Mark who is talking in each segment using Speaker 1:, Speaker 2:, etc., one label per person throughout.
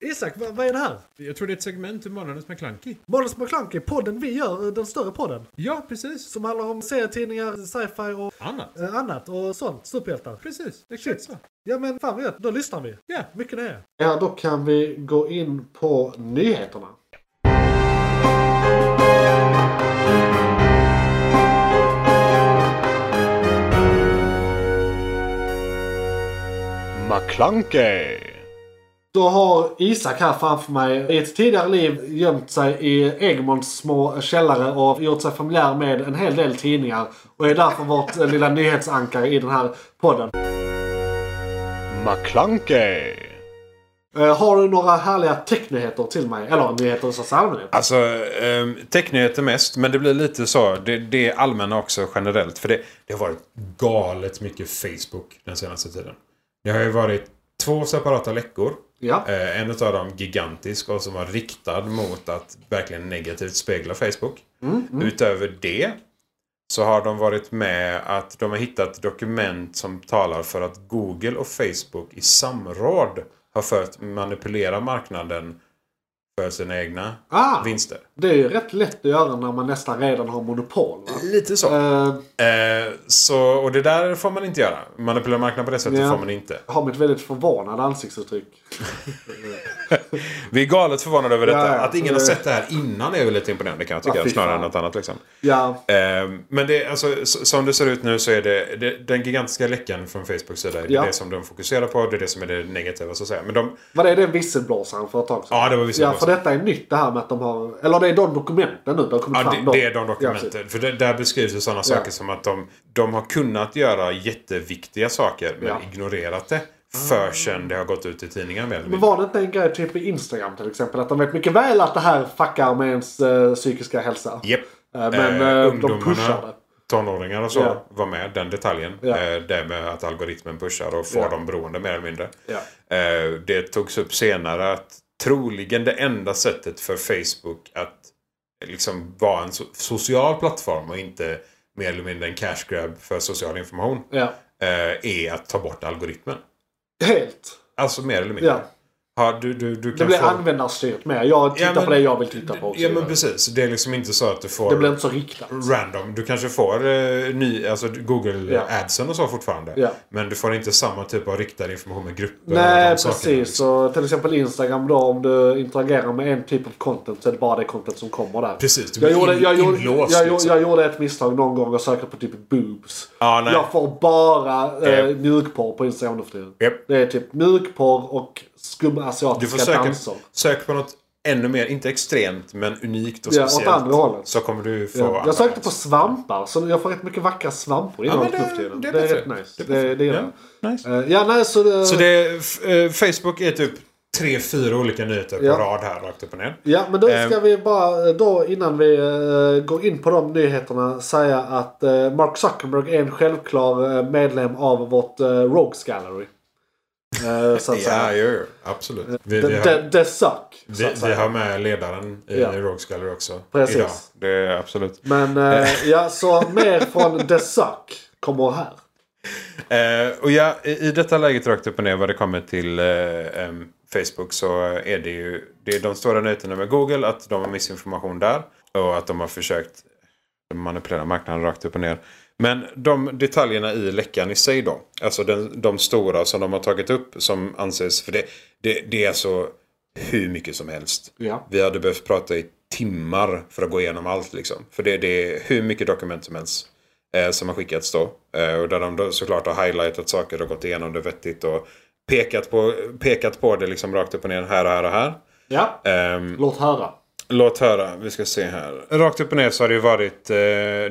Speaker 1: Isak, vad, vad är det här?
Speaker 2: Jag tror det är ett segment ur Månadens McKlunky.
Speaker 1: Måndags McKlunky, podden vi gör, eh, den större podden.
Speaker 2: Ja, precis.
Speaker 1: Som handlar om serietidningar, sci-fi och
Speaker 2: Annat.
Speaker 1: eh, annat och sånt. Superhjältar.
Speaker 2: Precis, exakt så.
Speaker 1: Ja men fan vad gött, då lyssnar vi.
Speaker 2: Ja.
Speaker 1: Mycket nöje.
Speaker 3: Ja, då kan vi gå in på nyheterna.
Speaker 4: McClunkey.
Speaker 3: Då har Isak här framför mig i ett tidigare liv gömt sig i Egmonts små källare och gjort sig familjär med en hel del tidningar. Och är därför vårt eh, lilla nyhetsankare i den här podden.
Speaker 4: McClunkey.
Speaker 3: Eh, Har du några härliga technyheter till mig? Eller nyheter i största allmänhet?
Speaker 2: Alltså, eh, technyheter mest, men det blir lite så. Det, det är allmänna också generellt. För det, det har varit galet mycket Facebook den senaste tiden. Det har ju varit två separata läckor.
Speaker 3: Ja.
Speaker 2: Eh, en av dem gigantisk och som var riktad mot att verkligen negativt spegla Facebook. Utöver det så har de varit med att de har hittat dokument som talar för att Google och Facebook i samråd har fört manipulera marknaden för sina egna
Speaker 3: Ah,
Speaker 2: vinster.
Speaker 3: det är ju rätt lätt att göra när man nästan redan har monopol. Va?
Speaker 2: Lite så.
Speaker 3: Eh,
Speaker 2: Eh, så. Och det där får man inte göra. Manipulera marknaden på det sättet
Speaker 3: Ja.
Speaker 2: får man inte.
Speaker 3: Jag har mitt väldigt förvånade ansiktsuttryck.
Speaker 2: Vi är galet förvånade över detta.
Speaker 3: Ja, ja.
Speaker 2: Att ingen har
Speaker 3: Eh.
Speaker 2: sett det här innan är väl lite imponerande kan jag tycka.
Speaker 3: Ja, fy
Speaker 2: snarare
Speaker 3: fan.
Speaker 2: än något annat liksom.
Speaker 3: Ja,
Speaker 2: Eh, Men det, alltså, s- som det ser ut nu så är det, det den gigantiska läckan från Facebooks sida. Det är
Speaker 3: Ja.
Speaker 2: det som de fokuserar på. Det är det som är det negativa så att säga. Men de,
Speaker 3: var det den visselblåsaren för ett tag sedan?
Speaker 2: ja, det var
Speaker 3: Ja,
Speaker 2: visselblåsare.
Speaker 3: för detta är nytt det här med att de har... Eller det är de dokumenten nu. De har kommit
Speaker 2: Ja,
Speaker 3: fram
Speaker 2: det,
Speaker 3: då.
Speaker 2: det är de
Speaker 3: Ja,
Speaker 2: dokumenten.
Speaker 3: precis.
Speaker 2: för det, där beskrivs ju sådana saker som att de, de har kunnat göra jätteviktiga saker men
Speaker 3: Ja.
Speaker 2: ignorerat det. Förrän det har gått ut i tidningen mer eller
Speaker 3: men
Speaker 2: mindre.
Speaker 3: var det inte en grej typ i Instagram till exempel? Att de vet mycket väl att det här fuckar med ens eh, psykiska hälsa.
Speaker 2: Japp.
Speaker 3: Eh, men eh, de pushar det.
Speaker 2: tonåringar och så
Speaker 3: Ja.
Speaker 2: var med. Den detaljen.
Speaker 3: Ja.
Speaker 2: Eh, det med att algoritmen pushar och får
Speaker 3: Ja.
Speaker 2: dem beroende mer eller mindre.
Speaker 3: Ja.
Speaker 2: Eh, det togs upp senare att troligen det enda sättet för Facebook att liksom vara en so social plattform och inte mer eller mindre en cash grab för social information.
Speaker 3: Ja.
Speaker 2: eh, är att ta bort algoritmen.
Speaker 3: Helt.
Speaker 2: Alltså mer eller mindre.
Speaker 3: Ja.
Speaker 2: Ja, du, du, du kan
Speaker 3: Det blir
Speaker 2: få...
Speaker 3: användarstyrt mer. Jag tittar
Speaker 2: men-
Speaker 3: på det jag vill titta på. också.
Speaker 2: Ja men precis. Det är liksom inte så att du får
Speaker 3: det blir inte så riktat.
Speaker 2: random. Du kanske får eh, ny, alltså Google
Speaker 3: Ja.
Speaker 2: adsen och så fortfarande.
Speaker 3: Ja.
Speaker 2: Men du får inte samma typ av riktad information med grupper. och
Speaker 3: Nej
Speaker 2: eh, de sakerna,
Speaker 3: precis.
Speaker 2: liksom.
Speaker 3: Så till exempel Instagram då om du interagerar med en typ av content så är det bara det content som kommer där.
Speaker 2: Precis, du
Speaker 3: Jag
Speaker 2: blir
Speaker 3: gjorde,
Speaker 2: in-
Speaker 3: jag, gjorde,
Speaker 2: inlåst,
Speaker 3: jag,
Speaker 2: liksom.
Speaker 3: gjorde- jag gjorde ett misstag någon gång och sökte på typ boobs.
Speaker 2: Ja, nej.
Speaker 3: jag får bara eh,
Speaker 2: Japp.
Speaker 3: mjukporr på Instagram nu för tiden.
Speaker 2: Japp.
Speaker 3: Det är typ mjukporr och skumma
Speaker 2: Du får
Speaker 3: asiatiska
Speaker 2: söka,
Speaker 3: danser.
Speaker 2: sök på något ännu mer, inte extremt, men unikt och
Speaker 3: Ja, åt
Speaker 2: speciellt.
Speaker 3: andra hållet.
Speaker 2: Så kommer du få...
Speaker 3: Ja.
Speaker 2: andra
Speaker 3: Jag sökte på
Speaker 2: chans.
Speaker 3: svampar så jag får rätt mycket vackra svampor
Speaker 2: Ja,
Speaker 3: inom
Speaker 2: men
Speaker 3: ja,
Speaker 2: det,
Speaker 3: det,
Speaker 2: det,
Speaker 3: är
Speaker 2: perfekt.
Speaker 3: rätt nice.
Speaker 2: Det är
Speaker 3: Det, det gör
Speaker 2: perfekt. ja, nice.
Speaker 3: jag. Eh, Ja, nej, så det,
Speaker 2: Så det är, f- eh, Facebook är typ tre, fyra olika nyheter
Speaker 3: Ja.
Speaker 2: på rad här rakt upp och ner.
Speaker 3: Ja, men då ska
Speaker 2: Ehm.
Speaker 3: vi bara då innan vi eh, går in på de nyheterna säga att eh, Mark Zuckerberg är en självklar eh, medlem av vårt eh, Rogues Gallery. Eh, så att
Speaker 2: Ja,
Speaker 3: säga.
Speaker 2: ja, ja, absolut. Vi, vi,
Speaker 3: The,
Speaker 2: har,
Speaker 3: the, the Suck. så
Speaker 2: vi,
Speaker 3: att
Speaker 2: vi
Speaker 3: säga.
Speaker 2: har med ledaren i
Speaker 3: Ja.
Speaker 2: Rogues Gallery också.
Speaker 3: Precis.
Speaker 2: Idag. Det är absolut.
Speaker 3: Men eh, ja, så mer från The Suck kommer här.
Speaker 2: Eh, och ja, i, i detta läget rakt upp och ner vad det kommer till eh, em, Facebook så är det ju det är de stora nyheterna med Google att de har missinformation där. Och att de har försökt manipulera marknaden rakt upp och ner. Men de detaljerna i läckan i sig då. Alltså den, de stora som de har tagit upp som anses. För det, det, det är alltså hur mycket som helst.
Speaker 3: Ja.
Speaker 2: Vi hade behövt prata i timmar för att gå igenom allt. Liksom. För det, det är hur mycket dokument som helst eh, som har skickats då. Eh, och där de då såklart har highlightat saker och gått igenom det vettigt. Och pekat på, pekat på det liksom rakt upp och ner här och här och här.
Speaker 3: Ja,
Speaker 2: Ehm,
Speaker 3: låt höra.
Speaker 2: Låt höra, vi ska se här. Rakt upp och ner så har det ju varit eh,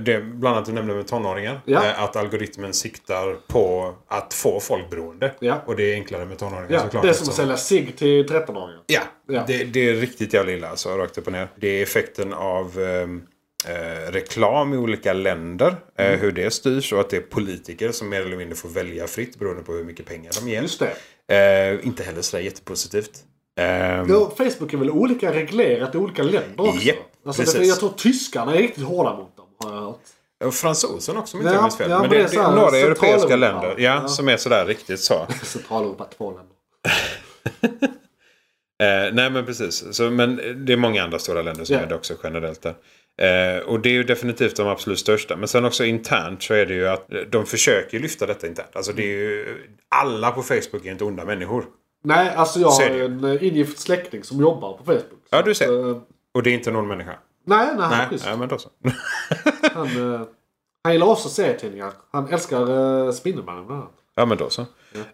Speaker 2: det bland annat du nämnde med tonåringar.
Speaker 3: Ja.
Speaker 2: Eh, att algoritmen siktar på att få folk beroende.
Speaker 3: Ja.
Speaker 2: Och det är enklare med tonåringar
Speaker 3: Ja,
Speaker 2: såklart.
Speaker 3: det är som att
Speaker 2: eftersom-
Speaker 3: sälja cigg till 13-åringar.
Speaker 2: Ja,
Speaker 3: Ja.
Speaker 2: Det, det är riktigt jävla illa alltså, rakt upp och ner. Det är effekten av ehm, eh, reklam i olika länder, eh,
Speaker 3: Mm.
Speaker 2: hur det styrs och att det är politiker som mer eller mindre får välja fritt beroende på hur mycket pengar de ger.
Speaker 3: Just det.
Speaker 2: Eh, inte heller sådär jättepositivt. Ehm,
Speaker 3: Jo, Facebook är väl olika reglerat i olika länder också?
Speaker 2: Japp,
Speaker 3: alltså, det,
Speaker 2: precis.
Speaker 3: jag tror tyskarna är riktigt hårda mot dem har jag hört.
Speaker 2: Och fransosen också om inte
Speaker 3: Ja,
Speaker 2: jag minns fel.
Speaker 3: ja, men
Speaker 2: men det,
Speaker 3: det är
Speaker 2: det
Speaker 3: så
Speaker 2: är
Speaker 3: här
Speaker 2: några europeiska
Speaker 3: centraleuropa.
Speaker 2: länder ja,
Speaker 3: Ja.
Speaker 2: som är sådär riktigt så.
Speaker 3: Centraleuropa, två länder.
Speaker 2: Eh, nej men precis. Så, men det är många andra stora länder som
Speaker 3: Ja.
Speaker 2: är det också generellt där. Eh, och det är ju definitivt de absolut största. Men sen också internt så är det ju att de försöker ju lyfta detta internt. Alltså det är ju, alla på Facebook är inte onda människor.
Speaker 3: Nej, alltså jag
Speaker 2: Så är
Speaker 3: har
Speaker 2: det ju.
Speaker 3: en eh, ingift släkting som jobbar på Facebook.
Speaker 2: Ja, du
Speaker 3: Så att,
Speaker 2: ser.
Speaker 3: eh,
Speaker 2: Och det är inte någon människa.
Speaker 3: Nej, nej, han är
Speaker 2: Nej,
Speaker 3: schysst.
Speaker 2: nej men då så.
Speaker 3: Han, eh, han gillar också serietidningar. Han älskar uh, Spindelmannen bland annat.
Speaker 2: Ja, men då så. Eh,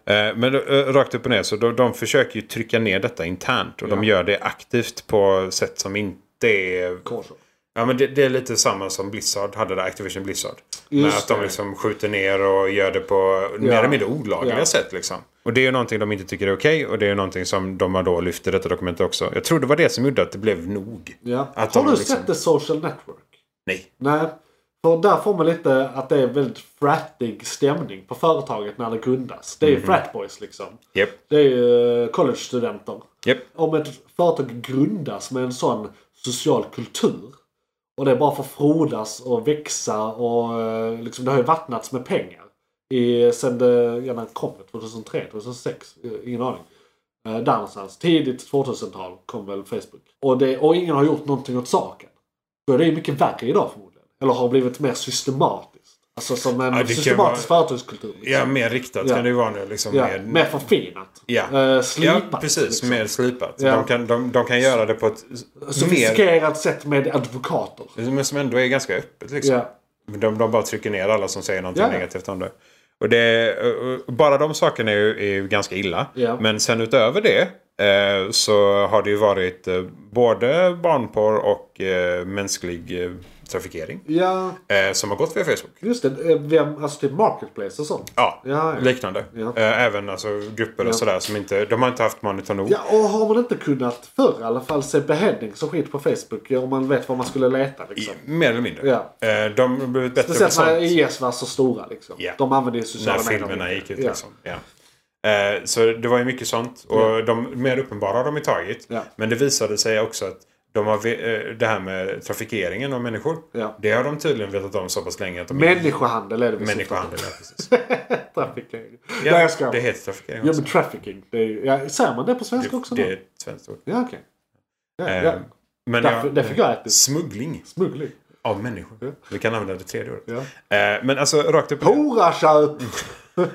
Speaker 2: Men eh, rakt upp och ner, så de, de försöker ju trycka ner detta internt. Och de gör det aktivt på sätt som inte är...
Speaker 3: Korsor.
Speaker 2: Ja, men det, det är lite samma som Blizzard hade där, Activision Blizzard. Med
Speaker 3: Just
Speaker 2: att de
Speaker 3: det.
Speaker 2: liksom skjuter ner och gör det på mer
Speaker 3: Ja.
Speaker 2: eller mindre olagliga
Speaker 3: Ja.
Speaker 2: sätt. Liksom. Och det är ju någonting de inte tycker är okej. och det är ju någonting som de har då lyft i detta dokument också. Jag tror det var det som gjorde att det blev nog.
Speaker 3: Ja.
Speaker 2: Att
Speaker 3: har
Speaker 2: de
Speaker 3: du
Speaker 2: liksom-
Speaker 3: sett The Social Network?
Speaker 2: Nej.
Speaker 3: Nej. För där får man lite att det är väldigt frattig stämning på företaget när det grundas. Det är ju
Speaker 2: Mhm.
Speaker 3: fratboys liksom.
Speaker 2: Japp.
Speaker 3: Det är ju eh, college-studenter.
Speaker 2: Japp.
Speaker 3: Om ett företag grundas med en sån social kultur och det bara får frodas och växa och eh, liksom, det har ju vattnats med pengar. I, sen det gärna kom, 2003, 2006, eh, ingen aning. Eh, Där någonstans, tidigt 2000-tal kom väl Facebook. Och, det, och ingen har gjort någonting åt saken. Då är det ju mycket värre idag förmodligen. Eller har blivit mer systematiskt. Alltså som en
Speaker 2: Ja, det kan
Speaker 3: systematisk
Speaker 2: vara-
Speaker 3: företagskultur. liksom.
Speaker 2: Ja, mer riktat
Speaker 3: Ja.
Speaker 2: kan det ju vara nu. Liksom,
Speaker 3: Ja,
Speaker 2: med-
Speaker 3: mer förfinat.
Speaker 2: Ja,
Speaker 3: Eh, slipat.
Speaker 2: ja precis.
Speaker 3: liksom.
Speaker 2: Mer slipat.
Speaker 3: Ja.
Speaker 2: De, kan, de, de kan göra det på ett mer,
Speaker 3: Sofistikerat sätt med advokater.
Speaker 2: men som ändå är ganska öppet. Liksom.
Speaker 3: Ja.
Speaker 2: De, de bara trycker ner alla som säger någonting
Speaker 3: Ja.
Speaker 2: negativt om det. Och det och- och bara de sakerna är ju, är ju ganska illa.
Speaker 3: Ja.
Speaker 2: Men sen utöver det eh, så har det ju varit eh, både barnporr och eh, mänsklig eh, trafikering.
Speaker 3: ja,
Speaker 2: Eh, som har gått via Facebook.
Speaker 3: just det. Eh, Vem, alltså typ marketplace och sånt.
Speaker 2: Ja,
Speaker 3: Ja, ja.
Speaker 2: liknande.
Speaker 3: Ja.
Speaker 2: Eh, även alltså, grupper och sådär som inte... De har inte haft monitor nog.
Speaker 3: Ja, och har man inte kunnat förr i alla fall se beheadings och skit på Facebook om man vet vad man skulle leta liksom.
Speaker 2: Mer eller mindre.
Speaker 3: Ja.
Speaker 2: Eh, de har blivit bättre
Speaker 3: Speciellt när
Speaker 2: sånt.
Speaker 3: IS var så stora liksom.
Speaker 2: Ja.
Speaker 3: De använde ju sociala
Speaker 2: när
Speaker 3: medier.
Speaker 2: filmerna gick ut.
Speaker 3: Ja.
Speaker 2: Liksom. Ja. Eh, så det var ju mycket sånt. Och de mer uppenbara har de ju tagit.
Speaker 3: Ja.
Speaker 2: Men det visade sig också att de har, ve- eh, det här med trafikeringen av människor.
Speaker 3: Ja.
Speaker 2: Det har de tydligen vetat om så pass länge att de
Speaker 3: Människohandel är det vi
Speaker 2: Människohandel, ja, precis.
Speaker 3: syftar på. Trafficking. Ja, Nej,
Speaker 2: Ja,
Speaker 3: jag ska.
Speaker 2: det heter trafikering
Speaker 3: Ja,
Speaker 2: också.
Speaker 3: men trafficking. Det är, ju- ja, säger man det på svenska också?
Speaker 2: det, det
Speaker 3: då?
Speaker 2: är ett svenskt ord.
Speaker 3: Ja, okej. Ja,
Speaker 2: Eh,
Speaker 3: ja.
Speaker 2: Men
Speaker 3: Därför,
Speaker 2: jag-
Speaker 3: det fick jag ätit.
Speaker 2: Smuggling
Speaker 3: Smuggling.
Speaker 2: av människor. Vi kan använda det tredje ordet.
Speaker 3: Ja.
Speaker 2: Eh, men alltså rakt upp och ner.
Speaker 3: Horaköp!
Speaker 2: Mm,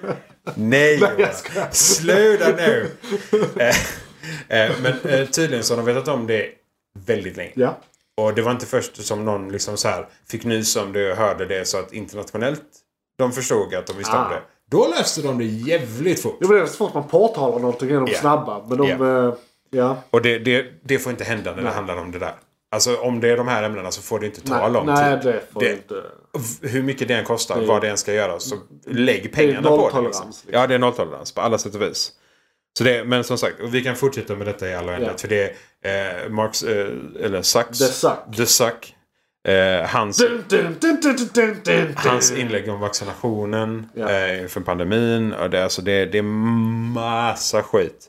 Speaker 2: Nej, Johan.
Speaker 3: jag skojar.
Speaker 2: Sluta nu! Eh, eh, men eh, tydligen så har de vetat om det väldigt länge.
Speaker 3: Ja.
Speaker 2: Och det var inte först som någon liksom så här fick nys om det och hörde det så att internationellt de förstod att de visste
Speaker 3: Ah.
Speaker 2: om det. Då löste de det jävligt fort.
Speaker 3: Jo, men det är så fort man påtalar någonting är de
Speaker 2: Ja.
Speaker 3: snabba. Men de...
Speaker 2: Ja.
Speaker 3: eh, ja.
Speaker 2: Och det, det, det får inte hända när det handlar om det där. Alltså om det är de här ämnena så får det inte typ. ta
Speaker 3: Nej,
Speaker 2: lång
Speaker 3: nej,
Speaker 2: tid.
Speaker 3: det får inte.
Speaker 2: v- Hur mycket det än kostar, vad det än ska göra, så lägg pengarna på det.
Speaker 3: nolltolerans, liksom.
Speaker 2: Ja, det är nolltolerans på alla sätt och vis. Så det, men som sagt, och vi kan fortsätta med detta i alla ändar.
Speaker 3: Ja.
Speaker 2: För det är eh, Marx, eh, eller Sachs.
Speaker 3: The Suck.
Speaker 2: The Suck. Eh, hans
Speaker 3: Dun, dun, dun, dun, dun, dun, dun.
Speaker 2: Hans inlägg om vaccinationen
Speaker 3: Ja.
Speaker 2: eh, inför pandemin. Och det, alltså det, det är massa skit.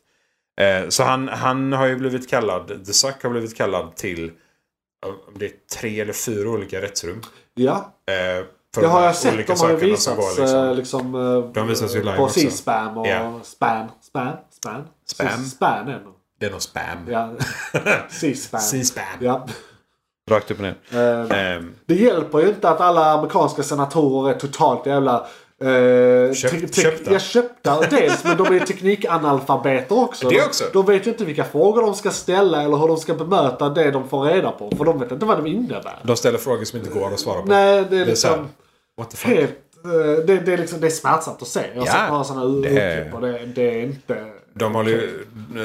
Speaker 2: Eh, så han, han har ju blivit kallad, The Suck har blivit kallad till eh, om det är tre eller fyra olika rättsrum.
Speaker 3: Ja,
Speaker 2: Eh, för
Speaker 3: det har
Speaker 2: de här
Speaker 3: jag sett.
Speaker 2: olika
Speaker 3: De har ju
Speaker 2: sakerna som
Speaker 3: visats
Speaker 2: var
Speaker 3: eh,
Speaker 2: liksom-
Speaker 3: liksom, eh,
Speaker 2: De visas ju live
Speaker 3: på
Speaker 2: också.
Speaker 3: C-spam och
Speaker 2: Ja.
Speaker 3: spam. Spam. Spam.
Speaker 2: Spam.
Speaker 3: Spam är det nog.
Speaker 2: Det är någon spam.
Speaker 3: Ja. C-spam.
Speaker 2: C-spam.
Speaker 3: Ja.
Speaker 2: Rakt upp och ner.
Speaker 3: Eh,
Speaker 2: Ehm,
Speaker 3: Det hjälper ju inte att alla amerikanska senatorer är totalt jävla... Eh,
Speaker 2: Köpt-
Speaker 3: tek- tek-
Speaker 2: köpta.
Speaker 3: Ja, köpta dels. Men de är ju teknikanalfabeter också.
Speaker 2: Det
Speaker 3: De-
Speaker 2: också.
Speaker 3: De vet ju inte vilka frågor de ska ställa eller hur de ska bemöta det de får reda på. För de vet inte vad det innebär.
Speaker 2: de ställer frågor som inte går att svara på.
Speaker 3: Nej, det är
Speaker 2: det är så här,
Speaker 3: liksom...
Speaker 2: What the fuck?
Speaker 3: Helt, eh, det, det, är liksom, det är smärtsamt att se. Jag har
Speaker 2: Ja,
Speaker 3: sett några sådana
Speaker 2: det är-
Speaker 3: urklipp och det, det är inte...
Speaker 2: De håller ju,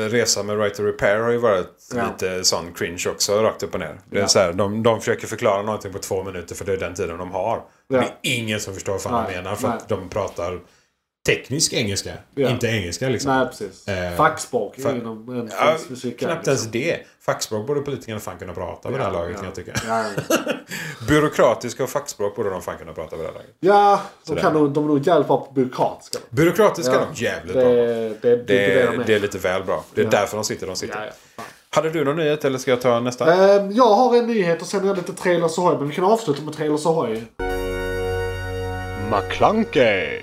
Speaker 2: Resa med Right to Repair har ju varit
Speaker 3: Ja.
Speaker 2: lite sån cringe också, rakt upp och ner. Det är så här, de, de försöker förklara någonting på två minuter för det är den tiden de har.
Speaker 3: Ja.
Speaker 2: Det är ingen som förstår vad fan de
Speaker 3: Nej,
Speaker 2: menar för att
Speaker 3: nej.
Speaker 2: de pratar teknisk engelska.
Speaker 3: Ja.
Speaker 2: Inte engelska liksom.
Speaker 3: Nej, precis.
Speaker 2: Eh,
Speaker 3: Fackspråk
Speaker 2: fa-
Speaker 3: inom en
Speaker 2: Ja,
Speaker 3: specifik-
Speaker 2: knappt ens det. Fackspråk borde politikerna fan kunna prata vid det här laget kan jag tycka.
Speaker 3: liksom- liksom. Ja, ja.
Speaker 2: Byråkratiska och fackspråk borde de fan kunna prata vid det här laget.
Speaker 3: Ja, de,
Speaker 2: Sådär.
Speaker 3: kan nog, de är nog jävligt bra på byråkratiska.
Speaker 2: Byråkratiska
Speaker 3: Ja.
Speaker 2: de jävligt
Speaker 3: det,
Speaker 2: bra på.
Speaker 3: det, det,
Speaker 2: det,
Speaker 3: det,
Speaker 2: är-
Speaker 3: med.
Speaker 2: det är lite väl bra. Det är därför de sitter de sitter.
Speaker 3: ja, ja, fan.
Speaker 2: Hade du någon nyhet eller ska jag ta nästa?
Speaker 3: Ehm, jag har en nyhet och sen är det lite trailers ahoy. Men vi kan avsluta med trailers ahoy.
Speaker 4: McClunkey!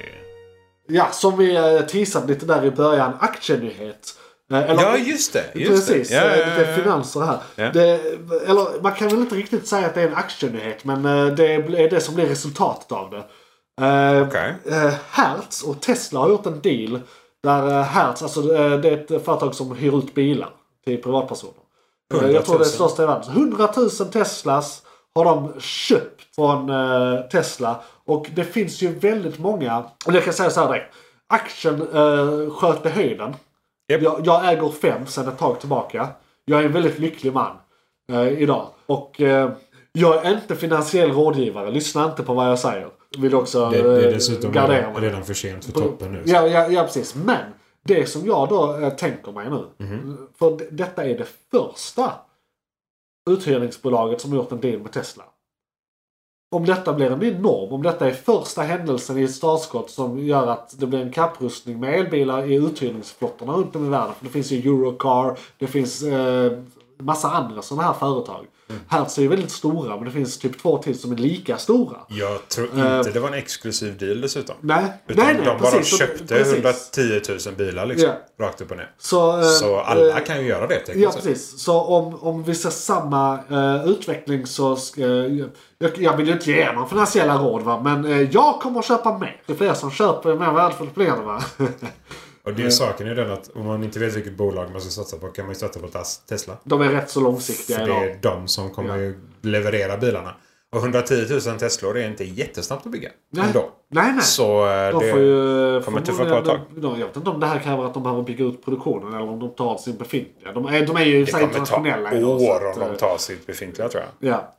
Speaker 3: Ja, som vi eh, teasade lite där i början. Aktienyhet. Eh, Eller,
Speaker 2: Ja, just det. Just
Speaker 3: Precis,
Speaker 2: det. Ja,
Speaker 3: eh,
Speaker 2: ja, ja,
Speaker 3: lite
Speaker 2: ja.
Speaker 3: finanser här.
Speaker 2: Ja.
Speaker 3: Det, eller man kan väl inte riktigt säga att det är en aktienyhet men eh, det är det som blir resultatet av det. Eh,
Speaker 2: Okej.
Speaker 3: eh, Hertz och Tesla har gjort en deal där eh, Hertz, alltså eh, det är ett företag som hyr ut bilar till privatpersoner. Eh,
Speaker 2: 100 000.
Speaker 3: Jag tror det är största i världen. Så 100 000 Teslas har de köpt från eh, Tesla. Och det finns ju väldigt många, och jag kan säga så här direkt. Aktien eh, sköt i höjden.
Speaker 2: Japp.
Speaker 3: Jag, jag äger fem sedan ett tag tillbaka. Jag är en väldigt lycklig man eh, idag. Och eh, jag är inte finansiell rådgivare. Lyssna inte på vad jag säger. Vill också
Speaker 5: Det, det är
Speaker 3: eh,
Speaker 5: dessutom
Speaker 3: gardera mig.
Speaker 5: redan, redan för sent för toppen nu.
Speaker 3: Ja, ja, ja, precis. Men det som jag då eh, tänker mig nu.
Speaker 2: Mhm.
Speaker 3: För d- detta är det första uthyrningsbolaget som har gjort en deal med Tesla. Om detta blir en ny norm, om detta är första händelsen i ett startskott som gör att det blir en kapprustning med elbilar i uthyrningsflottorna runt om i världen. För det finns ju Eurocar, det finns eh, massa andra sådana här företag.
Speaker 2: Mm.
Speaker 3: Hertz är ju väldigt stora men det finns typ två till som är lika stora.
Speaker 2: Jag tror inte det var en exklusiv deal dessutom.
Speaker 3: Äh. Nej,
Speaker 2: Utan
Speaker 3: nej, nej,
Speaker 2: de bara
Speaker 3: precis.
Speaker 2: köpte
Speaker 3: Precis.
Speaker 2: 110 000 bilar liksom. Rakt upp och ner.
Speaker 3: Så, eh,
Speaker 2: Så alltså- alla
Speaker 3: eh,
Speaker 2: kan ju göra det
Speaker 3: Ja,
Speaker 2: tekniskt sett.
Speaker 3: precis. Så om, om vi ser samma eh, utveckling så ska... jag, jag vill ju inte ge er någon finansiella råd va, men eh, jag kommer att köpa mer. Det är fler som köper ju mer värdefullt blir det va.
Speaker 5: Och det är saken är den att om man inte vet vilket bolag man ska satsa på kan man ju satsa på Tas- Tesla.
Speaker 3: De är rätt så långsiktiga
Speaker 5: För det
Speaker 3: idag.
Speaker 5: är de som kommer ju leverera bilarna. Och 110 000 Teslor är inte jättesnabbt att bygga.
Speaker 3: Nej.
Speaker 5: Ändå.
Speaker 3: Nej, nej.
Speaker 2: Så eh,
Speaker 3: De
Speaker 2: det...
Speaker 3: får ju
Speaker 2: kommer tuffa
Speaker 3: förmodligen-
Speaker 2: på ett
Speaker 3: de- de- Jag vet inte om det här kräver att de behöver bygga ut produktionen eller om de tar sin befintliga. De är, de är ju
Speaker 2: Det
Speaker 3: så här
Speaker 2: kommer ta
Speaker 3: internationella. idag, så
Speaker 2: år
Speaker 3: att,
Speaker 2: om
Speaker 3: eh,
Speaker 2: de tar sitt befintliga tror jag.
Speaker 3: Ja.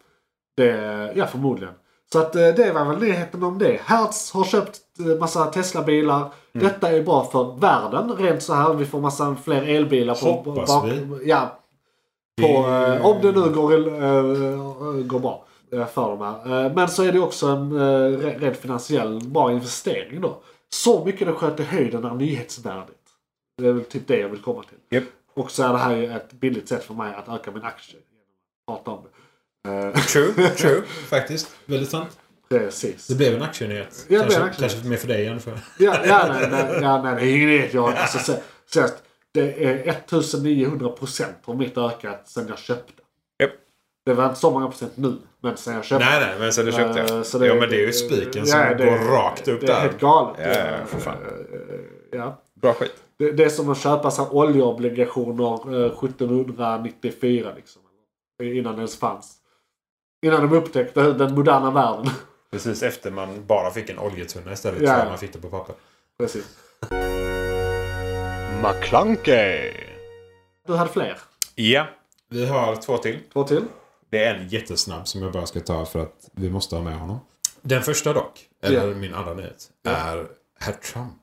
Speaker 3: Det, ja, förmodligen. Så att eh, det var väl nyheten om det. Hertz har köpt eh, massa Tesla-bilar.
Speaker 5: Mm.
Speaker 3: Detta är bra för världen rent så här. Vi får massa fler elbilar. På,
Speaker 5: Hoppas vi.
Speaker 3: Ja. På, eh, om det nu går, eh, går bra eh, för dem här. Eh, men så är det också en eh, re- rent finansiell bra investering då. Så mycket det sköt i höjden är nyhetsvärdigt. Det är väl typ det jag vill komma till.
Speaker 2: Japp.
Speaker 3: Och så är det här ju ett billigt sätt för mig att öka min aktie. Genom att prata om det.
Speaker 2: True, true.
Speaker 5: Faktiskt. Väldigt sant.
Speaker 3: Precis.
Speaker 5: Det blev en aktienyhet.
Speaker 3: Ja, det blev en
Speaker 5: kanske,
Speaker 3: aktienyhet.
Speaker 5: kanske mer för dig än för...
Speaker 3: Ja, ja, nej, nej, ja, nej, det är ingen nyhet. Jag, alltså, se- seriöst, det är 1900 procent har mitt ökat sen jag köpte.
Speaker 2: Japp.
Speaker 3: Det var inte så många procent nu, men sen jag köpte.
Speaker 2: Nej, nej, men så det köpte
Speaker 3: Eh,
Speaker 2: jag.
Speaker 3: så det-
Speaker 2: jo, men det är ju
Speaker 3: det-
Speaker 2: spiken
Speaker 3: ja,
Speaker 2: som
Speaker 3: det-
Speaker 2: går rakt upp
Speaker 3: det är
Speaker 2: där.
Speaker 3: helt galet.
Speaker 2: Ja, ja, för fan.
Speaker 3: Ja.
Speaker 2: Bra skit.
Speaker 3: Det, det är som att köpa så här oljeobligationer eh, 1794 liksom. Innan det ens fanns. Innan de upptäckte den moderna världen.
Speaker 2: Precis efter man bara fick en oljetunna istället
Speaker 3: Ja.
Speaker 2: för man fick det på papper.
Speaker 3: Precis.
Speaker 4: McClunkey!
Speaker 3: Du hade fler?
Speaker 2: Ja, vi har två till.
Speaker 3: Två till?
Speaker 2: Det är en jätte...
Speaker 5: jättesnabb som jag bara ska ta för att vi måste ha med honom. Den första dock, eller
Speaker 3: Ja.
Speaker 5: min andra nyhet, är herr Trump.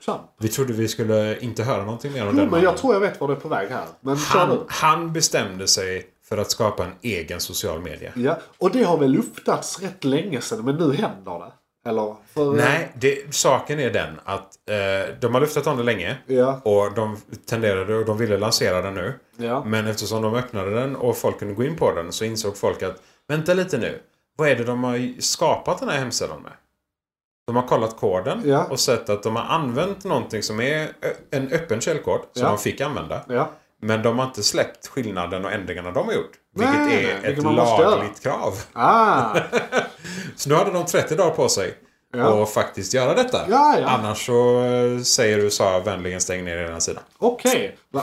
Speaker 3: Tja.
Speaker 5: Vi trodde vi skulle inte höra någonting mer om
Speaker 3: Jo,
Speaker 5: den
Speaker 3: men
Speaker 5: mannen.
Speaker 3: jag tror jag vet var du är på väg här. Men kör
Speaker 2: Han,
Speaker 3: du.
Speaker 2: han bestämde sig för att skapa en egen social media.
Speaker 3: Ja, och det har väl luftats rätt länge sedan men nu händer det. Eller? För,
Speaker 2: Nej, det, saken är den att eh, de har luftat om det länge.
Speaker 3: Ja.
Speaker 2: Och de tenderade och de ville lansera den nu.
Speaker 3: Ja.
Speaker 2: Men eftersom de öppnade den och folk kunde gå in på den så insåg folk att vänta lite nu. Vad är det de har skapat den här hemsidan med? De har kollat koden
Speaker 3: Ja.
Speaker 2: och sett att de har använt någonting som är ö- en öppen källkod som
Speaker 3: Ja.
Speaker 2: de fick använda.
Speaker 3: Ja.
Speaker 2: Men de har inte släppt skillnaden och ändringarna de har gjort. Vilket
Speaker 3: Nej,
Speaker 2: är
Speaker 3: nej, vilket
Speaker 2: ett
Speaker 3: man måste göra.
Speaker 2: lagligt krav.
Speaker 3: Ah,
Speaker 2: Så nu hade de 30 dagar på sig.
Speaker 3: Ja.
Speaker 2: Och faktiskt göra detta.
Speaker 3: Ja, ja.
Speaker 2: Annars så eh, säger USA vänligen stäng ner er sida.
Speaker 3: okej. Va-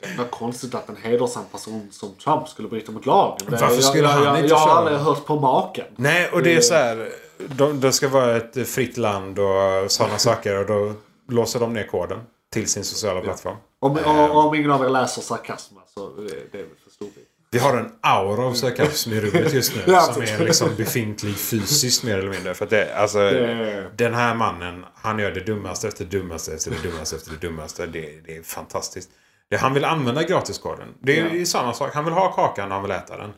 Speaker 3: Det var konstigt att en hedersam person som Trump skulle bryta mot lagen. Det-
Speaker 2: Varför skulle
Speaker 3: jag,
Speaker 2: han
Speaker 3: jag,
Speaker 2: inte
Speaker 3: Jag har
Speaker 2: köra?
Speaker 3: aldrig hört på maken.
Speaker 2: Nej, och det är så här. De, det ska vara ett fritt land och sådana saker. Och då låser de ner koden till sin sociala plattform.
Speaker 3: Om, om, om ingen av er läser sarkasm så det, det är väl för stor bit.
Speaker 2: Vi har en aura av sarkasm i rummet just nu.
Speaker 3: Ja,
Speaker 2: som
Speaker 3: precis.
Speaker 2: är liksom befintlig fysiskt mer eller mindre. För att det, alltså,
Speaker 3: Det-
Speaker 2: Den här mannen, han gör det dummaste efter det dummaste efter det dummaste efter det dummaste. Det, det är fantastiskt. Det, han vill använda gratiskoden. Det är ju samma sak. Han vill ha kakan, han vill äta den.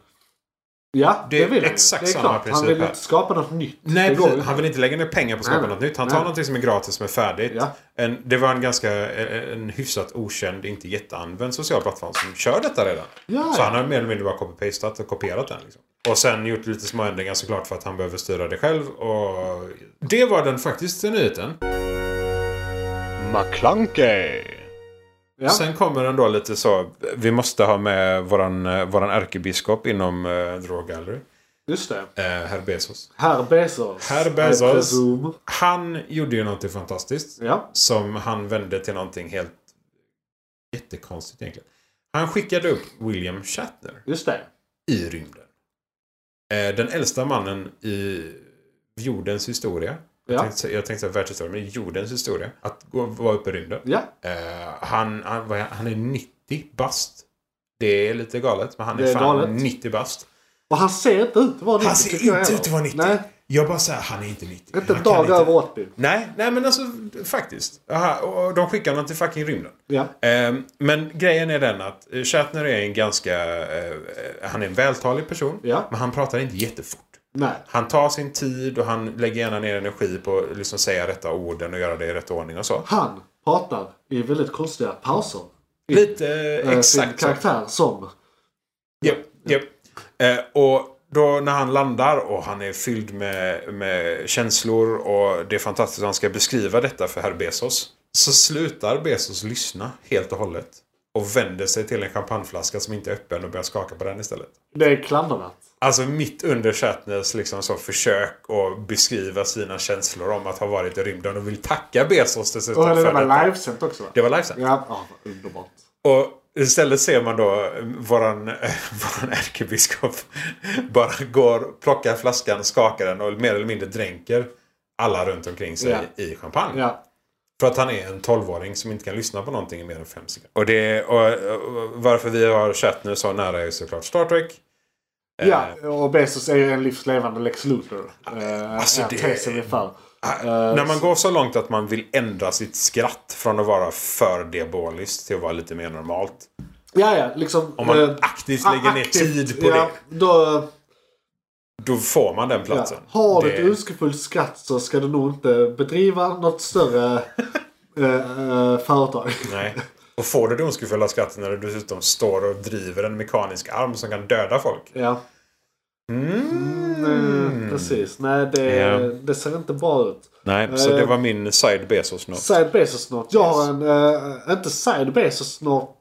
Speaker 3: Ja, det,
Speaker 2: Det är
Speaker 3: vill han ju.
Speaker 2: exakt
Speaker 3: Det är
Speaker 2: samma
Speaker 3: klart. Han
Speaker 2: princip
Speaker 3: vill
Speaker 2: här.
Speaker 3: inte skapa något nytt.
Speaker 2: Nej,
Speaker 3: det går
Speaker 2: precis.
Speaker 3: ju.
Speaker 2: Han vill inte lägga ner pengar på att skapa
Speaker 3: Nej,
Speaker 2: något nytt. Han
Speaker 3: nej.
Speaker 2: tar någonting som är gratis som är färdigt.
Speaker 3: Ja.
Speaker 2: En, det var en ganska eh, en hyfsat okänd, inte jätteanvänd social plattform som kör detta redan.
Speaker 3: Ja,
Speaker 2: så
Speaker 3: ja.
Speaker 2: han har mer eller mindre bara copy-pastat och kopierat den. Liksom. Och sen gjort lite små ändringar såklart för att han behöver styra det själv. Och det var den faktiska nyheten.
Speaker 4: McClunkey!
Speaker 3: Ja.
Speaker 2: Sen kommer den då lite så. Vi måste ha med våran, eh, våran ärkebiskop inom uh, The Raw Gallery.
Speaker 3: Just det.
Speaker 2: Eh, Herr Bezos.
Speaker 3: Herr Bezos.
Speaker 2: Herr Bezos.
Speaker 3: I presume.
Speaker 2: Han gjorde ju någonting fantastiskt.
Speaker 3: Ja.
Speaker 2: Som han vände till någonting helt jättekonstigt egentligen. Han skickade upp William Shatner
Speaker 3: Just det.
Speaker 2: i rymden. Eh, den äldsta mannen i jordens historia. Jag
Speaker 3: Ja.
Speaker 2: tänkte, sä- jag tänkte säga världshistorien, men jordens historia. Att gå, vara uppe i rymden.
Speaker 3: Ja.
Speaker 2: Eh, han, han, vad är- han är 90 bast. Det är lite galet, men han är,
Speaker 3: Det är
Speaker 2: fan
Speaker 3: galet.
Speaker 2: 90 bast.
Speaker 3: Och han ser inte ut att vara 90
Speaker 2: Han ser
Speaker 3: tycker jag
Speaker 2: inte
Speaker 3: heller.
Speaker 2: ut att vara 90.
Speaker 3: Nej.
Speaker 2: Jag bara säger, han är inte 90.
Speaker 3: Inte
Speaker 2: Han
Speaker 3: en
Speaker 2: kan
Speaker 3: dag
Speaker 2: inte-
Speaker 3: över 80.
Speaker 2: Nej, nej men alltså faktiskt. Aha, och de skickar honom till fucking rymden.
Speaker 3: Ja.
Speaker 2: Ehm, men grejen är den att eh, Shatner är en ganska... eh, eh, han är en vältalig person.
Speaker 3: Ja.
Speaker 2: Men han pratar inte jättefort.
Speaker 3: Nej.
Speaker 2: Han tar sin tid och han lägger gärna ner energi på att liksom säga rätta orden och göra det i rätt ordning och så.
Speaker 3: Han pratar i väldigt konstiga pauser.
Speaker 2: Lite eh,
Speaker 3: Eh, Sin
Speaker 2: exakt så.
Speaker 3: karaktär som.
Speaker 2: Japp, japp. Eh, och då när han landar och han är fylld med, med känslor och det är fantastiskt att han ska beskriva detta för herr Bezos. Så slutar Bezos lyssna helt och hållet. Och vänder sig till en champagneflaska som inte är öppen och börjar skaka på den istället.
Speaker 3: Det är klandervärt.
Speaker 2: Alltså mitt under Shatners liksom så försök att beskriva sina känslor om att ha varit i rymden och vill tacka Bezos dessutom
Speaker 3: Och det
Speaker 2: för
Speaker 3: var
Speaker 2: detta.
Speaker 3: livesänt också va?
Speaker 2: Det var livesänt.
Speaker 3: Ja, ja vad underbart.
Speaker 2: Och istället ser man då eh, våran, eh, våran ärkebiskop bara går, plockar flaskan, skakar den och mer eller mindre dränker alla runt omkring sig
Speaker 3: Ja.
Speaker 2: i champagne.
Speaker 3: Ja.
Speaker 2: För att han är en tolvåring som inte kan lyssna på någonting i mer än fem sekunder. Och, det, och, och varför vi har Shatner så nära är ju såklart Star Trek. Eh.
Speaker 3: ja, och Bezos är ju en livslevande Lex Luthor. Eh,
Speaker 2: alltså,
Speaker 3: ja,
Speaker 2: det-
Speaker 3: Tesen ungefär.
Speaker 2: ah,
Speaker 3: eh,
Speaker 2: När man går så långt att man vill ändra sitt skratt från att vara för diaboliskt till att vara lite mer normalt.
Speaker 3: Ja, ja, liksom.
Speaker 2: Om man
Speaker 3: eh,
Speaker 2: aktivt lägger ner
Speaker 3: aktivt,
Speaker 2: tid på
Speaker 3: ja,
Speaker 2: det,
Speaker 3: Då,
Speaker 2: då får man den
Speaker 3: ja.
Speaker 2: platsen.
Speaker 3: Har du
Speaker 2: Det-
Speaker 3: ett ondskefullt skratt så ska du nog inte bedriva något större eh, eh, företag.
Speaker 2: Nej. Och får du det ondskefulla skrattet när du dessutom står och driver en mekanisk arm som kan döda folk.
Speaker 3: Ja,
Speaker 2: Mm.
Speaker 3: eh, precis. Nej, det,
Speaker 2: Ja.
Speaker 3: det ser inte bra ut.
Speaker 2: Nej, så det
Speaker 3: Eh.
Speaker 2: var min side Bezos note.
Speaker 3: Side Bezos Note. Jag har en, eh, inte Side Bezos Note,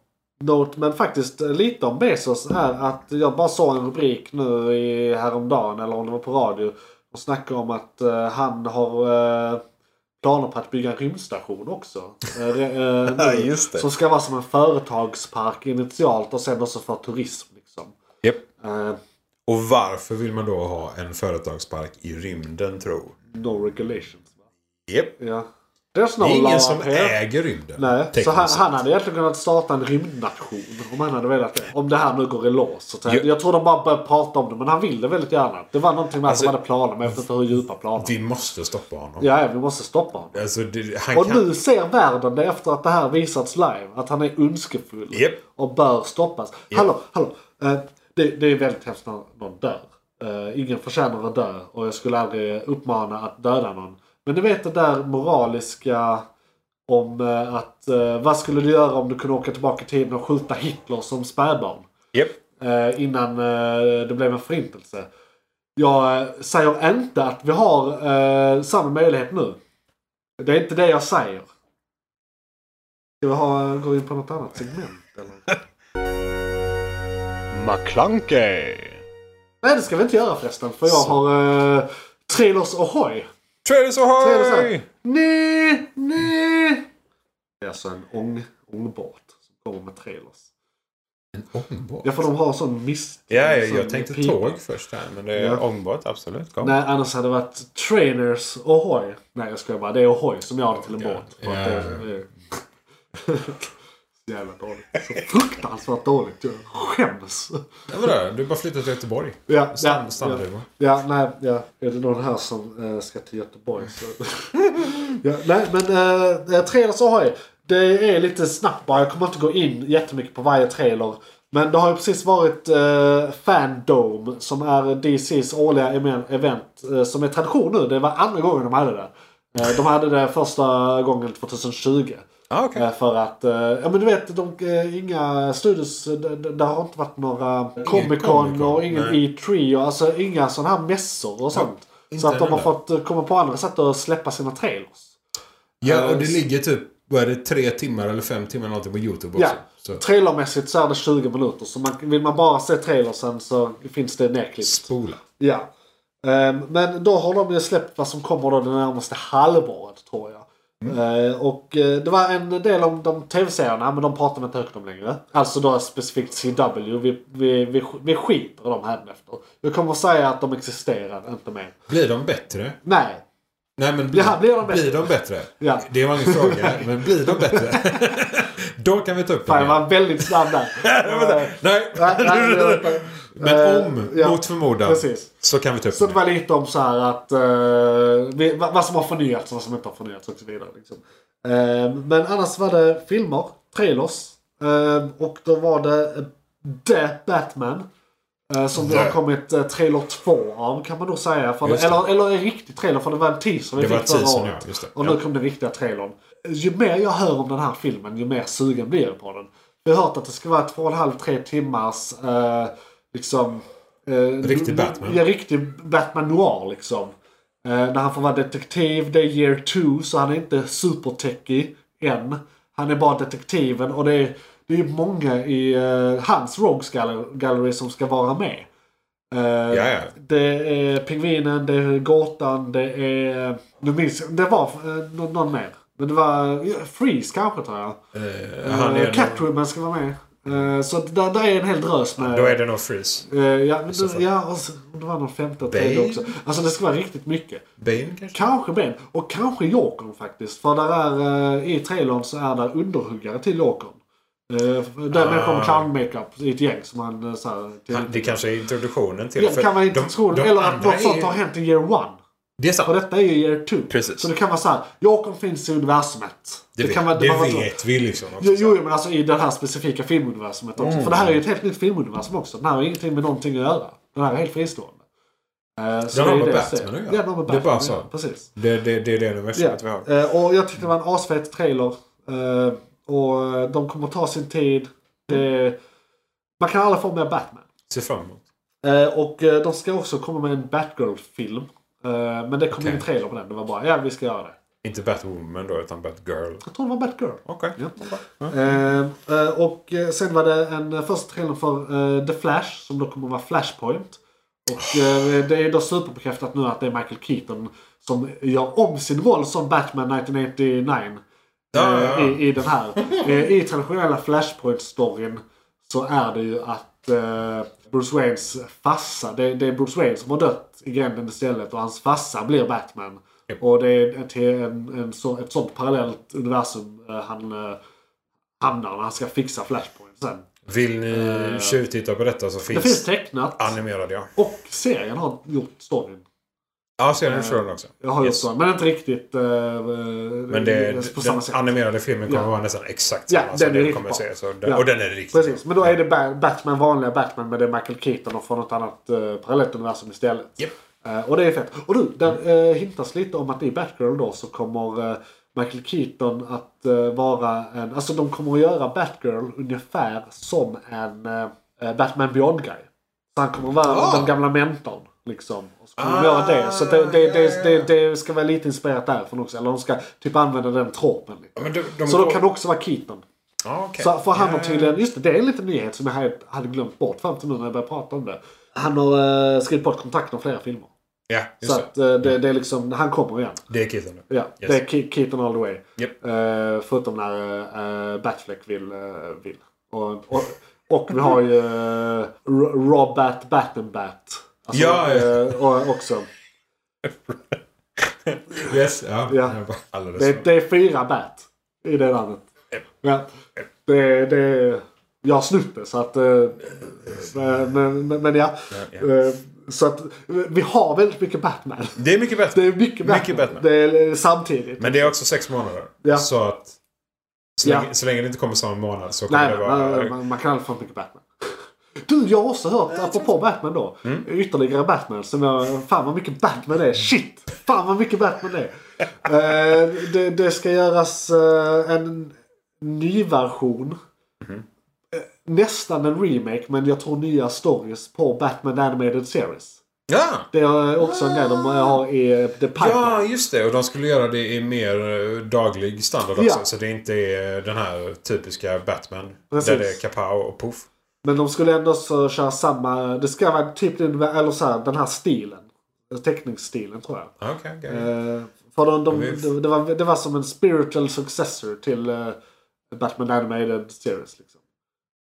Speaker 3: note men faktiskt eh, lite om Bezos är att jag bara såg en rubrik nu i, häromdagen eller om det var på radio. Och snackade om att eh, han har eh, planer på att bygga en rymdstation också. Eh, re- eh,
Speaker 2: Ja,
Speaker 3: nu,
Speaker 2: just det.
Speaker 3: Som ska vara som en företagspark initialt och sen också för turism. Liksom.
Speaker 2: Japp.
Speaker 3: Eh,
Speaker 2: Och varför vill man då ha en företagspark i rymden tro?
Speaker 3: no regulations. va?
Speaker 2: Japp.
Speaker 3: Ja. There's
Speaker 2: Det
Speaker 3: no
Speaker 2: är ingen
Speaker 3: law
Speaker 2: som
Speaker 3: here.
Speaker 2: äger rymden.
Speaker 3: Nej,
Speaker 2: tekniskt
Speaker 3: så han,
Speaker 2: sett.
Speaker 3: han hade egentligen kunnat starta en rymdnation om han hade velat det. Om det här nu går i lås. Så att
Speaker 2: Jo.
Speaker 3: jag, jag tror de bara började prata om det, men han ville väldigt gärna. Det var någonting med
Speaker 2: Alltså,
Speaker 3: att de hade planer, men jag vet inte hur djupa planer.
Speaker 2: Vi måste stoppa honom.
Speaker 3: Ja, ja, vi måste stoppa honom.
Speaker 2: Alltså, det, han
Speaker 3: Och
Speaker 2: kan...
Speaker 3: nu ser världen det efter att det här visats live. Att han är ondskefull.
Speaker 2: Japp.
Speaker 3: Och bör stoppas. Hallå, hallå. Eh, det, det är väldigt hemskt när någon dör. Eh, ingen förtjänar att dö. Och jag skulle aldrig uppmana att döda någon. Men du vet det där moraliska om eh, att eh, vad skulle du göra om du kunde åka tillbaka i tiden och skjuta Hitler som spädbarn?
Speaker 2: Japp.
Speaker 3: eh, innan eh, det blev en förintelse. Jag eh, säger inte att vi har eh, samma möjlighet nu. Det är inte det jag säger. Ska vi ha, gå in på något annat segment eller?
Speaker 4: McClunkey!
Speaker 3: Nej det ska vi inte göra förresten för jag har eh, Trailers Ahoy.
Speaker 2: Traders
Speaker 3: Trailers Ahoy.
Speaker 2: Ahoy!
Speaker 3: Nej, nej. Det är alltså en ång, ångbåt som kommer med trailers.
Speaker 2: En ångbåt?
Speaker 3: Ja för de har sån mist.
Speaker 2: Ja, ja,
Speaker 3: sån
Speaker 2: jag tänkte
Speaker 3: pipa.
Speaker 2: tåg först här. Men det är
Speaker 3: Ja.
Speaker 2: ångbåt, absolut. Kom.
Speaker 3: Nej, annars hade det varit Trainers Ahoy. Nej, jag skojar bara. Det är Ahoy som jag har till en
Speaker 2: Ja,
Speaker 3: båt. För att
Speaker 2: ja,
Speaker 3: det är- Så jävla dåligt. Så fruktansvärt dåligt. Jag skäms.
Speaker 5: Ja, vadå? Du bara flyttat till Göteborg.
Speaker 3: Ja, Alltså, ja,
Speaker 5: Stan-
Speaker 3: ja,
Speaker 5: Standardhumor.
Speaker 3: ja, nej, ja. Är det någon här som eh, ska till Göteborg så... ja, nej, men eh, Trailers Ahoy. Det är lite snabbt bara. Jag kommer inte gå in jättemycket på varje trailer. Men det har ju precis varit eh, Fandome som är DCs årliga emen- event eh, som är tradition nu. Det var andra gången de hade det. Eh, de hade det första gången 2020.
Speaker 2: Ah, okej.
Speaker 3: Eh, För att, eh, ja men du vet, de, eh, inga studios, eh, d- d- det har inte varit några Comic Con
Speaker 2: Comic-Con,
Speaker 3: och ingen
Speaker 2: nej.
Speaker 3: E3 och alltså inga sådana här mässor och sånt.
Speaker 2: inte
Speaker 3: så att de har
Speaker 2: heller.
Speaker 3: fått eh, komma på andra sätt att släppa sina trailers.
Speaker 2: Ja, och det ligger typ vad är det, tre timmar eller fem timmar eller någonting på YouTube
Speaker 3: Ja,
Speaker 2: också. Så.
Speaker 3: trailermässigt så är det 20 minuter. Så man, vill man bara se trailersen så finns det liksom. nedklippt.
Speaker 2: Spola.
Speaker 3: Ja. Ehm, men då har de ju släppt vad som kommer då det närmaste halvåret tror jag. Eh, och eh, det var en del om de tv-serierna men de pratar vi inte högt om längre. Alltså då specifikt CW. Vi, vi, vi, vi skiter i dem hädanefter. Jag kommer säga att de existerar, inte mer.
Speaker 2: Blir de bättre?
Speaker 3: Nej.
Speaker 2: Nej men blir,
Speaker 3: Ja, blir de bättre? Ja.
Speaker 2: Det var ingen fråga, men blir de bättre? Då kan vi ta upp
Speaker 3: Fan jag
Speaker 2: igen.
Speaker 3: var väldigt snabb där. Eh,
Speaker 2: Nej.
Speaker 3: nej, nej, det var inte-
Speaker 2: Men
Speaker 3: Eh,
Speaker 2: om,
Speaker 3: ja.
Speaker 2: mot förmodan,
Speaker 3: Precis.
Speaker 2: så kan vi ta upp
Speaker 3: Så
Speaker 2: den
Speaker 3: det
Speaker 2: igen.
Speaker 3: var lite om så här att eh, vi, vad, vad som har förnyats och vad som inte har förnyats och så vidare. Liksom. Eh, men annars var det filmer, trailers. eh, och då var det eh, The Batman. eh, som det har kommit eh, trailer 2 av kan man nog säga. För det,
Speaker 2: Just det.
Speaker 3: eller, eller en riktig trailer för det var en teaser vi
Speaker 2: Det var
Speaker 3: fick förra
Speaker 2: teasern,
Speaker 3: året.
Speaker 2: ja, just det.
Speaker 3: Och
Speaker 2: Ja.
Speaker 3: nu kom den riktiga trailern. Ju mer jag hör om den här filmen ju mer sugen blir jag på den. Jag har hört att det ska vara två och en halv, tre timmars eh, liksom eh,
Speaker 2: Riktig Batman.
Speaker 3: Ja, riktig Batman Noir liksom. Eh, när han får vara detektiv, det är year two, så han är inte supertechig än. Han är bara detektiven och det är, det är många i eh, hans Rogues Gallery, gallery som ska vara med. Eh,
Speaker 2: Ja, ja.
Speaker 3: Det är Pingvinen, det är Gåtan, det är... Nu minns jag, det var eh, någon, någon mer. Men det var ja, Freeze kanske tror jag.
Speaker 2: Eh, han
Speaker 3: Eh,
Speaker 2: är nog-
Speaker 3: Catwoman ska vara med. Eh, så att där, där är en hel drös med...
Speaker 5: Då är det nog freeze.
Speaker 3: Eh, ja, men det, ja, och så, och det var någon femte och tredje
Speaker 2: Bane?
Speaker 3: också. Alltså det ska vara riktigt mycket.
Speaker 2: Bane kanske?
Speaker 3: Kanske Ben och kanske Jokern faktiskt. För där är, eh, i trailern så är där underhuggare till Jokern. Uh,
Speaker 2: Ah,
Speaker 3: där människor med clownmakeup i ett gäng som han eh, så här, till,
Speaker 5: Han- Det kanske är introduktionen till...
Speaker 3: Ja,
Speaker 5: för
Speaker 3: kan man inte
Speaker 5: de-
Speaker 3: tro.
Speaker 5: de
Speaker 3: Eller att
Speaker 5: andra
Speaker 3: något sånt
Speaker 5: är-
Speaker 3: har hänt i year one.
Speaker 2: Det är sant.
Speaker 3: För detta är ju year two.
Speaker 2: Precis.
Speaker 3: Så det kan vara så här. Jokern finns i universumet.
Speaker 2: Det, vet,
Speaker 3: kan man-
Speaker 5: Det
Speaker 3: man var-
Speaker 5: vet vi liksom också.
Speaker 3: Jo, jo, men alltså i det här specifika filmuniversumet också. För det här är ju ett helt nytt filmuniversum också. Den här har ingenting med någonting att göra. Den här är helt fristående. Uh,
Speaker 2: Den har med Batman att göra.
Speaker 3: Den har med Batman
Speaker 2: Det är bara
Speaker 3: att göra,
Speaker 2: så.
Speaker 3: Precis.
Speaker 2: det, det, det är det universumet vi
Speaker 3: Ja.
Speaker 2: har.
Speaker 3: Eh, och jag tyckte det var en asfet trailer. Eh, och eh, de kommer ta sin tid. Det, man kan alla få med Batman.
Speaker 2: Ser fram emot.
Speaker 3: Eh, och eh, de ska också komma med en Batgirl-film. Eh, men det kom ingen trailer på den. Det var bara, ja vi ska göra det.
Speaker 2: Inte Batwoman då, utan Batgirl.
Speaker 3: Jag tror det var Batgirl.
Speaker 2: Okej.
Speaker 3: Ja. Eh, eh, och eh, sen var det en eh, första trailer för eh, The Flash som då kommer att vara Flashpoint. Och eh, det är då superbekräftat nu att det är Michael Keaton som gör om sin roll som Batman 1989.
Speaker 2: Ja,
Speaker 3: eh,
Speaker 2: ja, ja.
Speaker 3: I, I den här. Eh, I traditionella Flashpoint-storyn så är det ju att eh, Bruce Waynes fassa, det, det är Bruce Wayne som har dött i gränden istället och hans fassa blir Batman. Och det är ett, en, en, så, ett sånt parallellt universum eh, han eh, hamnar när han ska fixa Flashpoint sen.
Speaker 2: Vill ni tjuvtitta på detta så
Speaker 3: Eh, Det finns
Speaker 2: finns
Speaker 3: tecknat
Speaker 2: animerad ja.
Speaker 3: och serien har gjort storyn.
Speaker 2: Ja, så är
Speaker 3: Eh,
Speaker 2: den från också.
Speaker 3: Jag har gjort
Speaker 2: Yes.
Speaker 3: storyn, men inte riktigt eh,
Speaker 2: Men det,
Speaker 3: på
Speaker 2: den
Speaker 3: samma sätt.
Speaker 2: animerade filmen kommer
Speaker 3: Ja.
Speaker 2: vara nästan exakt
Speaker 3: Ja,
Speaker 2: samma som
Speaker 3: den är
Speaker 2: den
Speaker 3: riktigt
Speaker 2: kommer
Speaker 3: bra.
Speaker 2: se. Så den,
Speaker 3: Ja.
Speaker 2: Och den är riktigt
Speaker 3: Precis,
Speaker 2: bra.
Speaker 3: men då är det Ba- Batman, vanliga Batman, men det är Michael Keaton och från något annat eh, parallellt universum istället.
Speaker 2: Japp.
Speaker 3: Eh, och det är fett. Och du, där eh, hintas lite om att i Batgirl då så kommer eh, Michael Keaton att eh, vara en... Alltså de kommer att göra Batgirl ungefär som en eh, eh, Batman Beyond-guy. Så han kommer att vara
Speaker 2: Ah.
Speaker 3: den gamla mentorn. Liksom. Och så kommer de
Speaker 2: Ah,
Speaker 3: göra det. Så det, det,
Speaker 2: ja,
Speaker 3: det,
Speaker 2: ja,
Speaker 3: det, det ska vara lite inspirerat därifrån också. Eller de ska typ använda den tropen.
Speaker 2: Ja,
Speaker 3: Liksom.
Speaker 2: men de, de
Speaker 3: Så
Speaker 2: går-
Speaker 3: då kan det också vara Keaton.
Speaker 2: Ja, okej.
Speaker 3: Så för han har
Speaker 2: Ja,
Speaker 3: tydligen, just det, det är en liten nyhet som jag hade- hade glömt bort fram till nu när jag började prata om det. Han har eh, skrivit bort kontakten om flera filmer.
Speaker 2: Ja, just
Speaker 3: så
Speaker 2: det.
Speaker 3: att eh, det, det är liksom, han kommer igen.
Speaker 2: Det är Keaton.
Speaker 3: Ja,
Speaker 2: Yes.
Speaker 3: Det är Ke- Keaton all the way.
Speaker 2: Japp.
Speaker 3: Eh, förutom när eh, Batfleck vill. eh, vill. Och, och, och vi har ju eh, Ro- Robert Battenbat. Alltså,
Speaker 2: Ja, ja.
Speaker 3: eh, och också.
Speaker 2: Yes, ja.
Speaker 3: Ja.
Speaker 2: Jag bara- Alldeles.
Speaker 3: Det, det är fyra bat i det namnet. Ja. Det, det, jag har snott det så att... eh, Men, men, men ja.
Speaker 2: ja.
Speaker 3: Eh, Så att eh, vi har väldigt mycket Batman.
Speaker 2: det är mycket bättre.
Speaker 3: Det är mycket Batman.
Speaker 2: Mycket Batman.
Speaker 3: Det är eh, samtidigt.
Speaker 2: Men det är också sex månader.
Speaker 3: Ja.
Speaker 2: Så att så länge,
Speaker 3: Ja.
Speaker 2: så länge det inte kommer samma månad så kommer
Speaker 3: Nej,
Speaker 2: det
Speaker 3: nej,
Speaker 2: vara...
Speaker 3: nej, man, man kan aldrig få mycket Batman. Du, jag har också hört, apropå Batman då,
Speaker 2: Mm.
Speaker 3: ytterligare Batman som jag, fan vad mycket Batman det är. Shit! Fan vad mycket Batman det är. Eh, det, det ska göras eh, en ny version.
Speaker 2: Mhm.
Speaker 3: Eh, nästan en remake men jag tror nya stories på Batman The Animated Series.
Speaker 2: Ja!
Speaker 3: Det är också en grej de har i eh, The Pipe.
Speaker 2: Ja, just det. Och de skulle göra det i mer eh, daglig standard också.
Speaker 3: Ja.
Speaker 2: Så det inte är den här typiska Batman.
Speaker 3: Precis.
Speaker 2: Där det är kapow och puff.
Speaker 3: Men de skulle ändå så köra samma, det ska vara typ den, eller så här, den här stilen. Teckningsstilen tror jag.
Speaker 2: Ah, Okej, okej.
Speaker 3: Eh, för de, de,
Speaker 2: Ja,
Speaker 3: det,
Speaker 2: visst.
Speaker 3: det, var, det var som en spiritual successor till eh, Batman Animated Series. Liksom.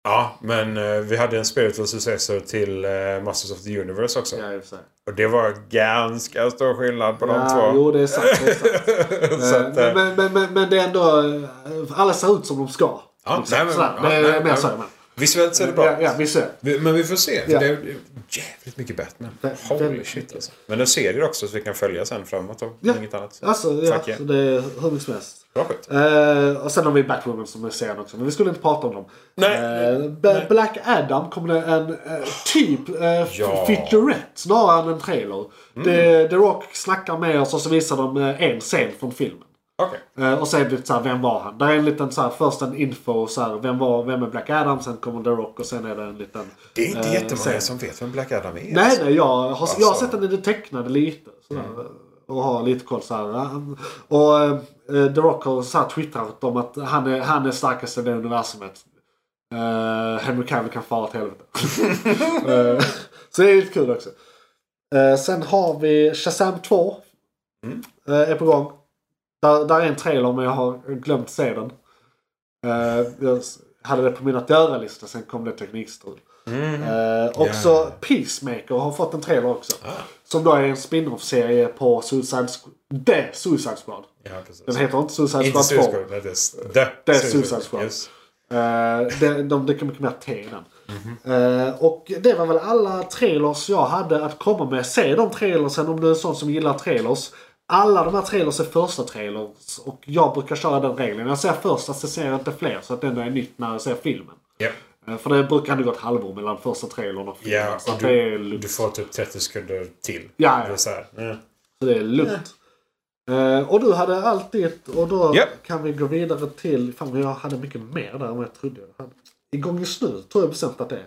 Speaker 2: Ja, men eh, vi hade en spiritual successor till eh, Masters of the Universe också.
Speaker 3: Ja, i och för sig.
Speaker 2: Och det var ganska stor skillnad på de
Speaker 3: Ja,
Speaker 2: två.
Speaker 3: jo, det är sant. Det är sant.
Speaker 2: så
Speaker 3: Eh,
Speaker 2: att,
Speaker 3: men,
Speaker 2: eh,
Speaker 3: men, men, men, men det är ändå, eh, alla ser ut som de ska.
Speaker 2: Ja,
Speaker 3: Liksom.
Speaker 2: nej, men-
Speaker 3: Sådär.
Speaker 2: ja,
Speaker 3: det är
Speaker 2: nej,
Speaker 3: mer
Speaker 2: nej,
Speaker 3: så.
Speaker 2: men-
Speaker 3: men-
Speaker 2: visuellt ser det bra
Speaker 3: Ja,
Speaker 2: ut.
Speaker 3: ja, visst är det.
Speaker 2: Vi- Men vi får se. För
Speaker 3: Ja.
Speaker 2: Det är det är jävligt mycket Batman.
Speaker 3: Väldigt
Speaker 2: Holy
Speaker 3: mycket.
Speaker 2: shit alltså. Men en serie också så vi kan följa sen framåt och
Speaker 3: Ja.
Speaker 2: inget annat.
Speaker 3: Alltså, ja,
Speaker 2: Tack, ja.
Speaker 3: så det är hur mycket som helst.
Speaker 2: Bra skit.
Speaker 3: Eh, och sen har vi Batwoman som är serien också, men vi skulle inte prata om dem.
Speaker 2: Nej.
Speaker 3: Eh, B- Black Adam kom det en eh, typ uh,
Speaker 2: Ja. Mm.
Speaker 3: featurette snarare än en trailer. The, The Rock snackar med oss och så visar de eh, en scen från filmen.
Speaker 2: Okej.
Speaker 3: Eh, och så är det lite såhär, vem var han? Där är en liten såhär, först en info, såhär, vem, var, vem är Black Adam? Sen kommer The Rock och sen är det en liten...
Speaker 2: Det är inte
Speaker 3: eh,
Speaker 2: jättemånga
Speaker 3: scen.
Speaker 2: som vet vem Black Adam är.
Speaker 3: Nej,
Speaker 2: alltså.
Speaker 3: nej, jag har, jag har
Speaker 2: Alltså.
Speaker 3: sett den i det tecknade lite. Sådär, Och har lite koll så här. Och eh, The Rock har så här twittrat om att han är, han är starkast i det universumet. Uh, Henry Cavill kan fara åt helvete. Eh, så det är lite kul också. Eh, sen har vi Shazam 2. Eh, är på gång. Där, där är en trailer men jag har glömt se den. Eh, jag s- hade det på min att göra-lista sen kom det teknikstrul. Eh, också
Speaker 2: Mm. Ja. Ah.
Speaker 3: Peacemaker har fått en trailer också. Som då är en spin-off-serie på Suicide Squad. The Suicide Squad.
Speaker 2: Ja, precis.
Speaker 3: Den heter inte Suicide
Speaker 2: Inte
Speaker 3: Squad 2.
Speaker 2: Suicide Squad. nej, Det är The,
Speaker 3: Det är Suicide Squad.
Speaker 2: Yes.
Speaker 3: Eh, det, de, det kan mycket mer te i den. Eh, och det var väl alla trailers jag hade att komma med. Se de trailersen om du är en sån som gillar trailers. Alla de här trailers är första trailers och jag brukar köra den regeln. Jag ser första så ser jag inte fler så att det ändå är nytt när jag ser filmen.
Speaker 2: Ja.
Speaker 3: Eh, för det brukar ändå gå ett halvår mellan första trailern och filmen.
Speaker 2: Ja,
Speaker 3: så
Speaker 2: och
Speaker 3: att det är
Speaker 2: du,
Speaker 3: lugnt.
Speaker 2: du får typ 30 sekunder till.
Speaker 3: Ja, ja.
Speaker 2: Det är så här. Mm.
Speaker 3: Så det är lugnt. Eh, och du hade allt ditt och då
Speaker 2: Japp.
Speaker 3: kan vi gå vidare till... Fan vad jag hade mycket mer där än vad jag trodde jag hade. Igång just nu tror jag bestämt att det är.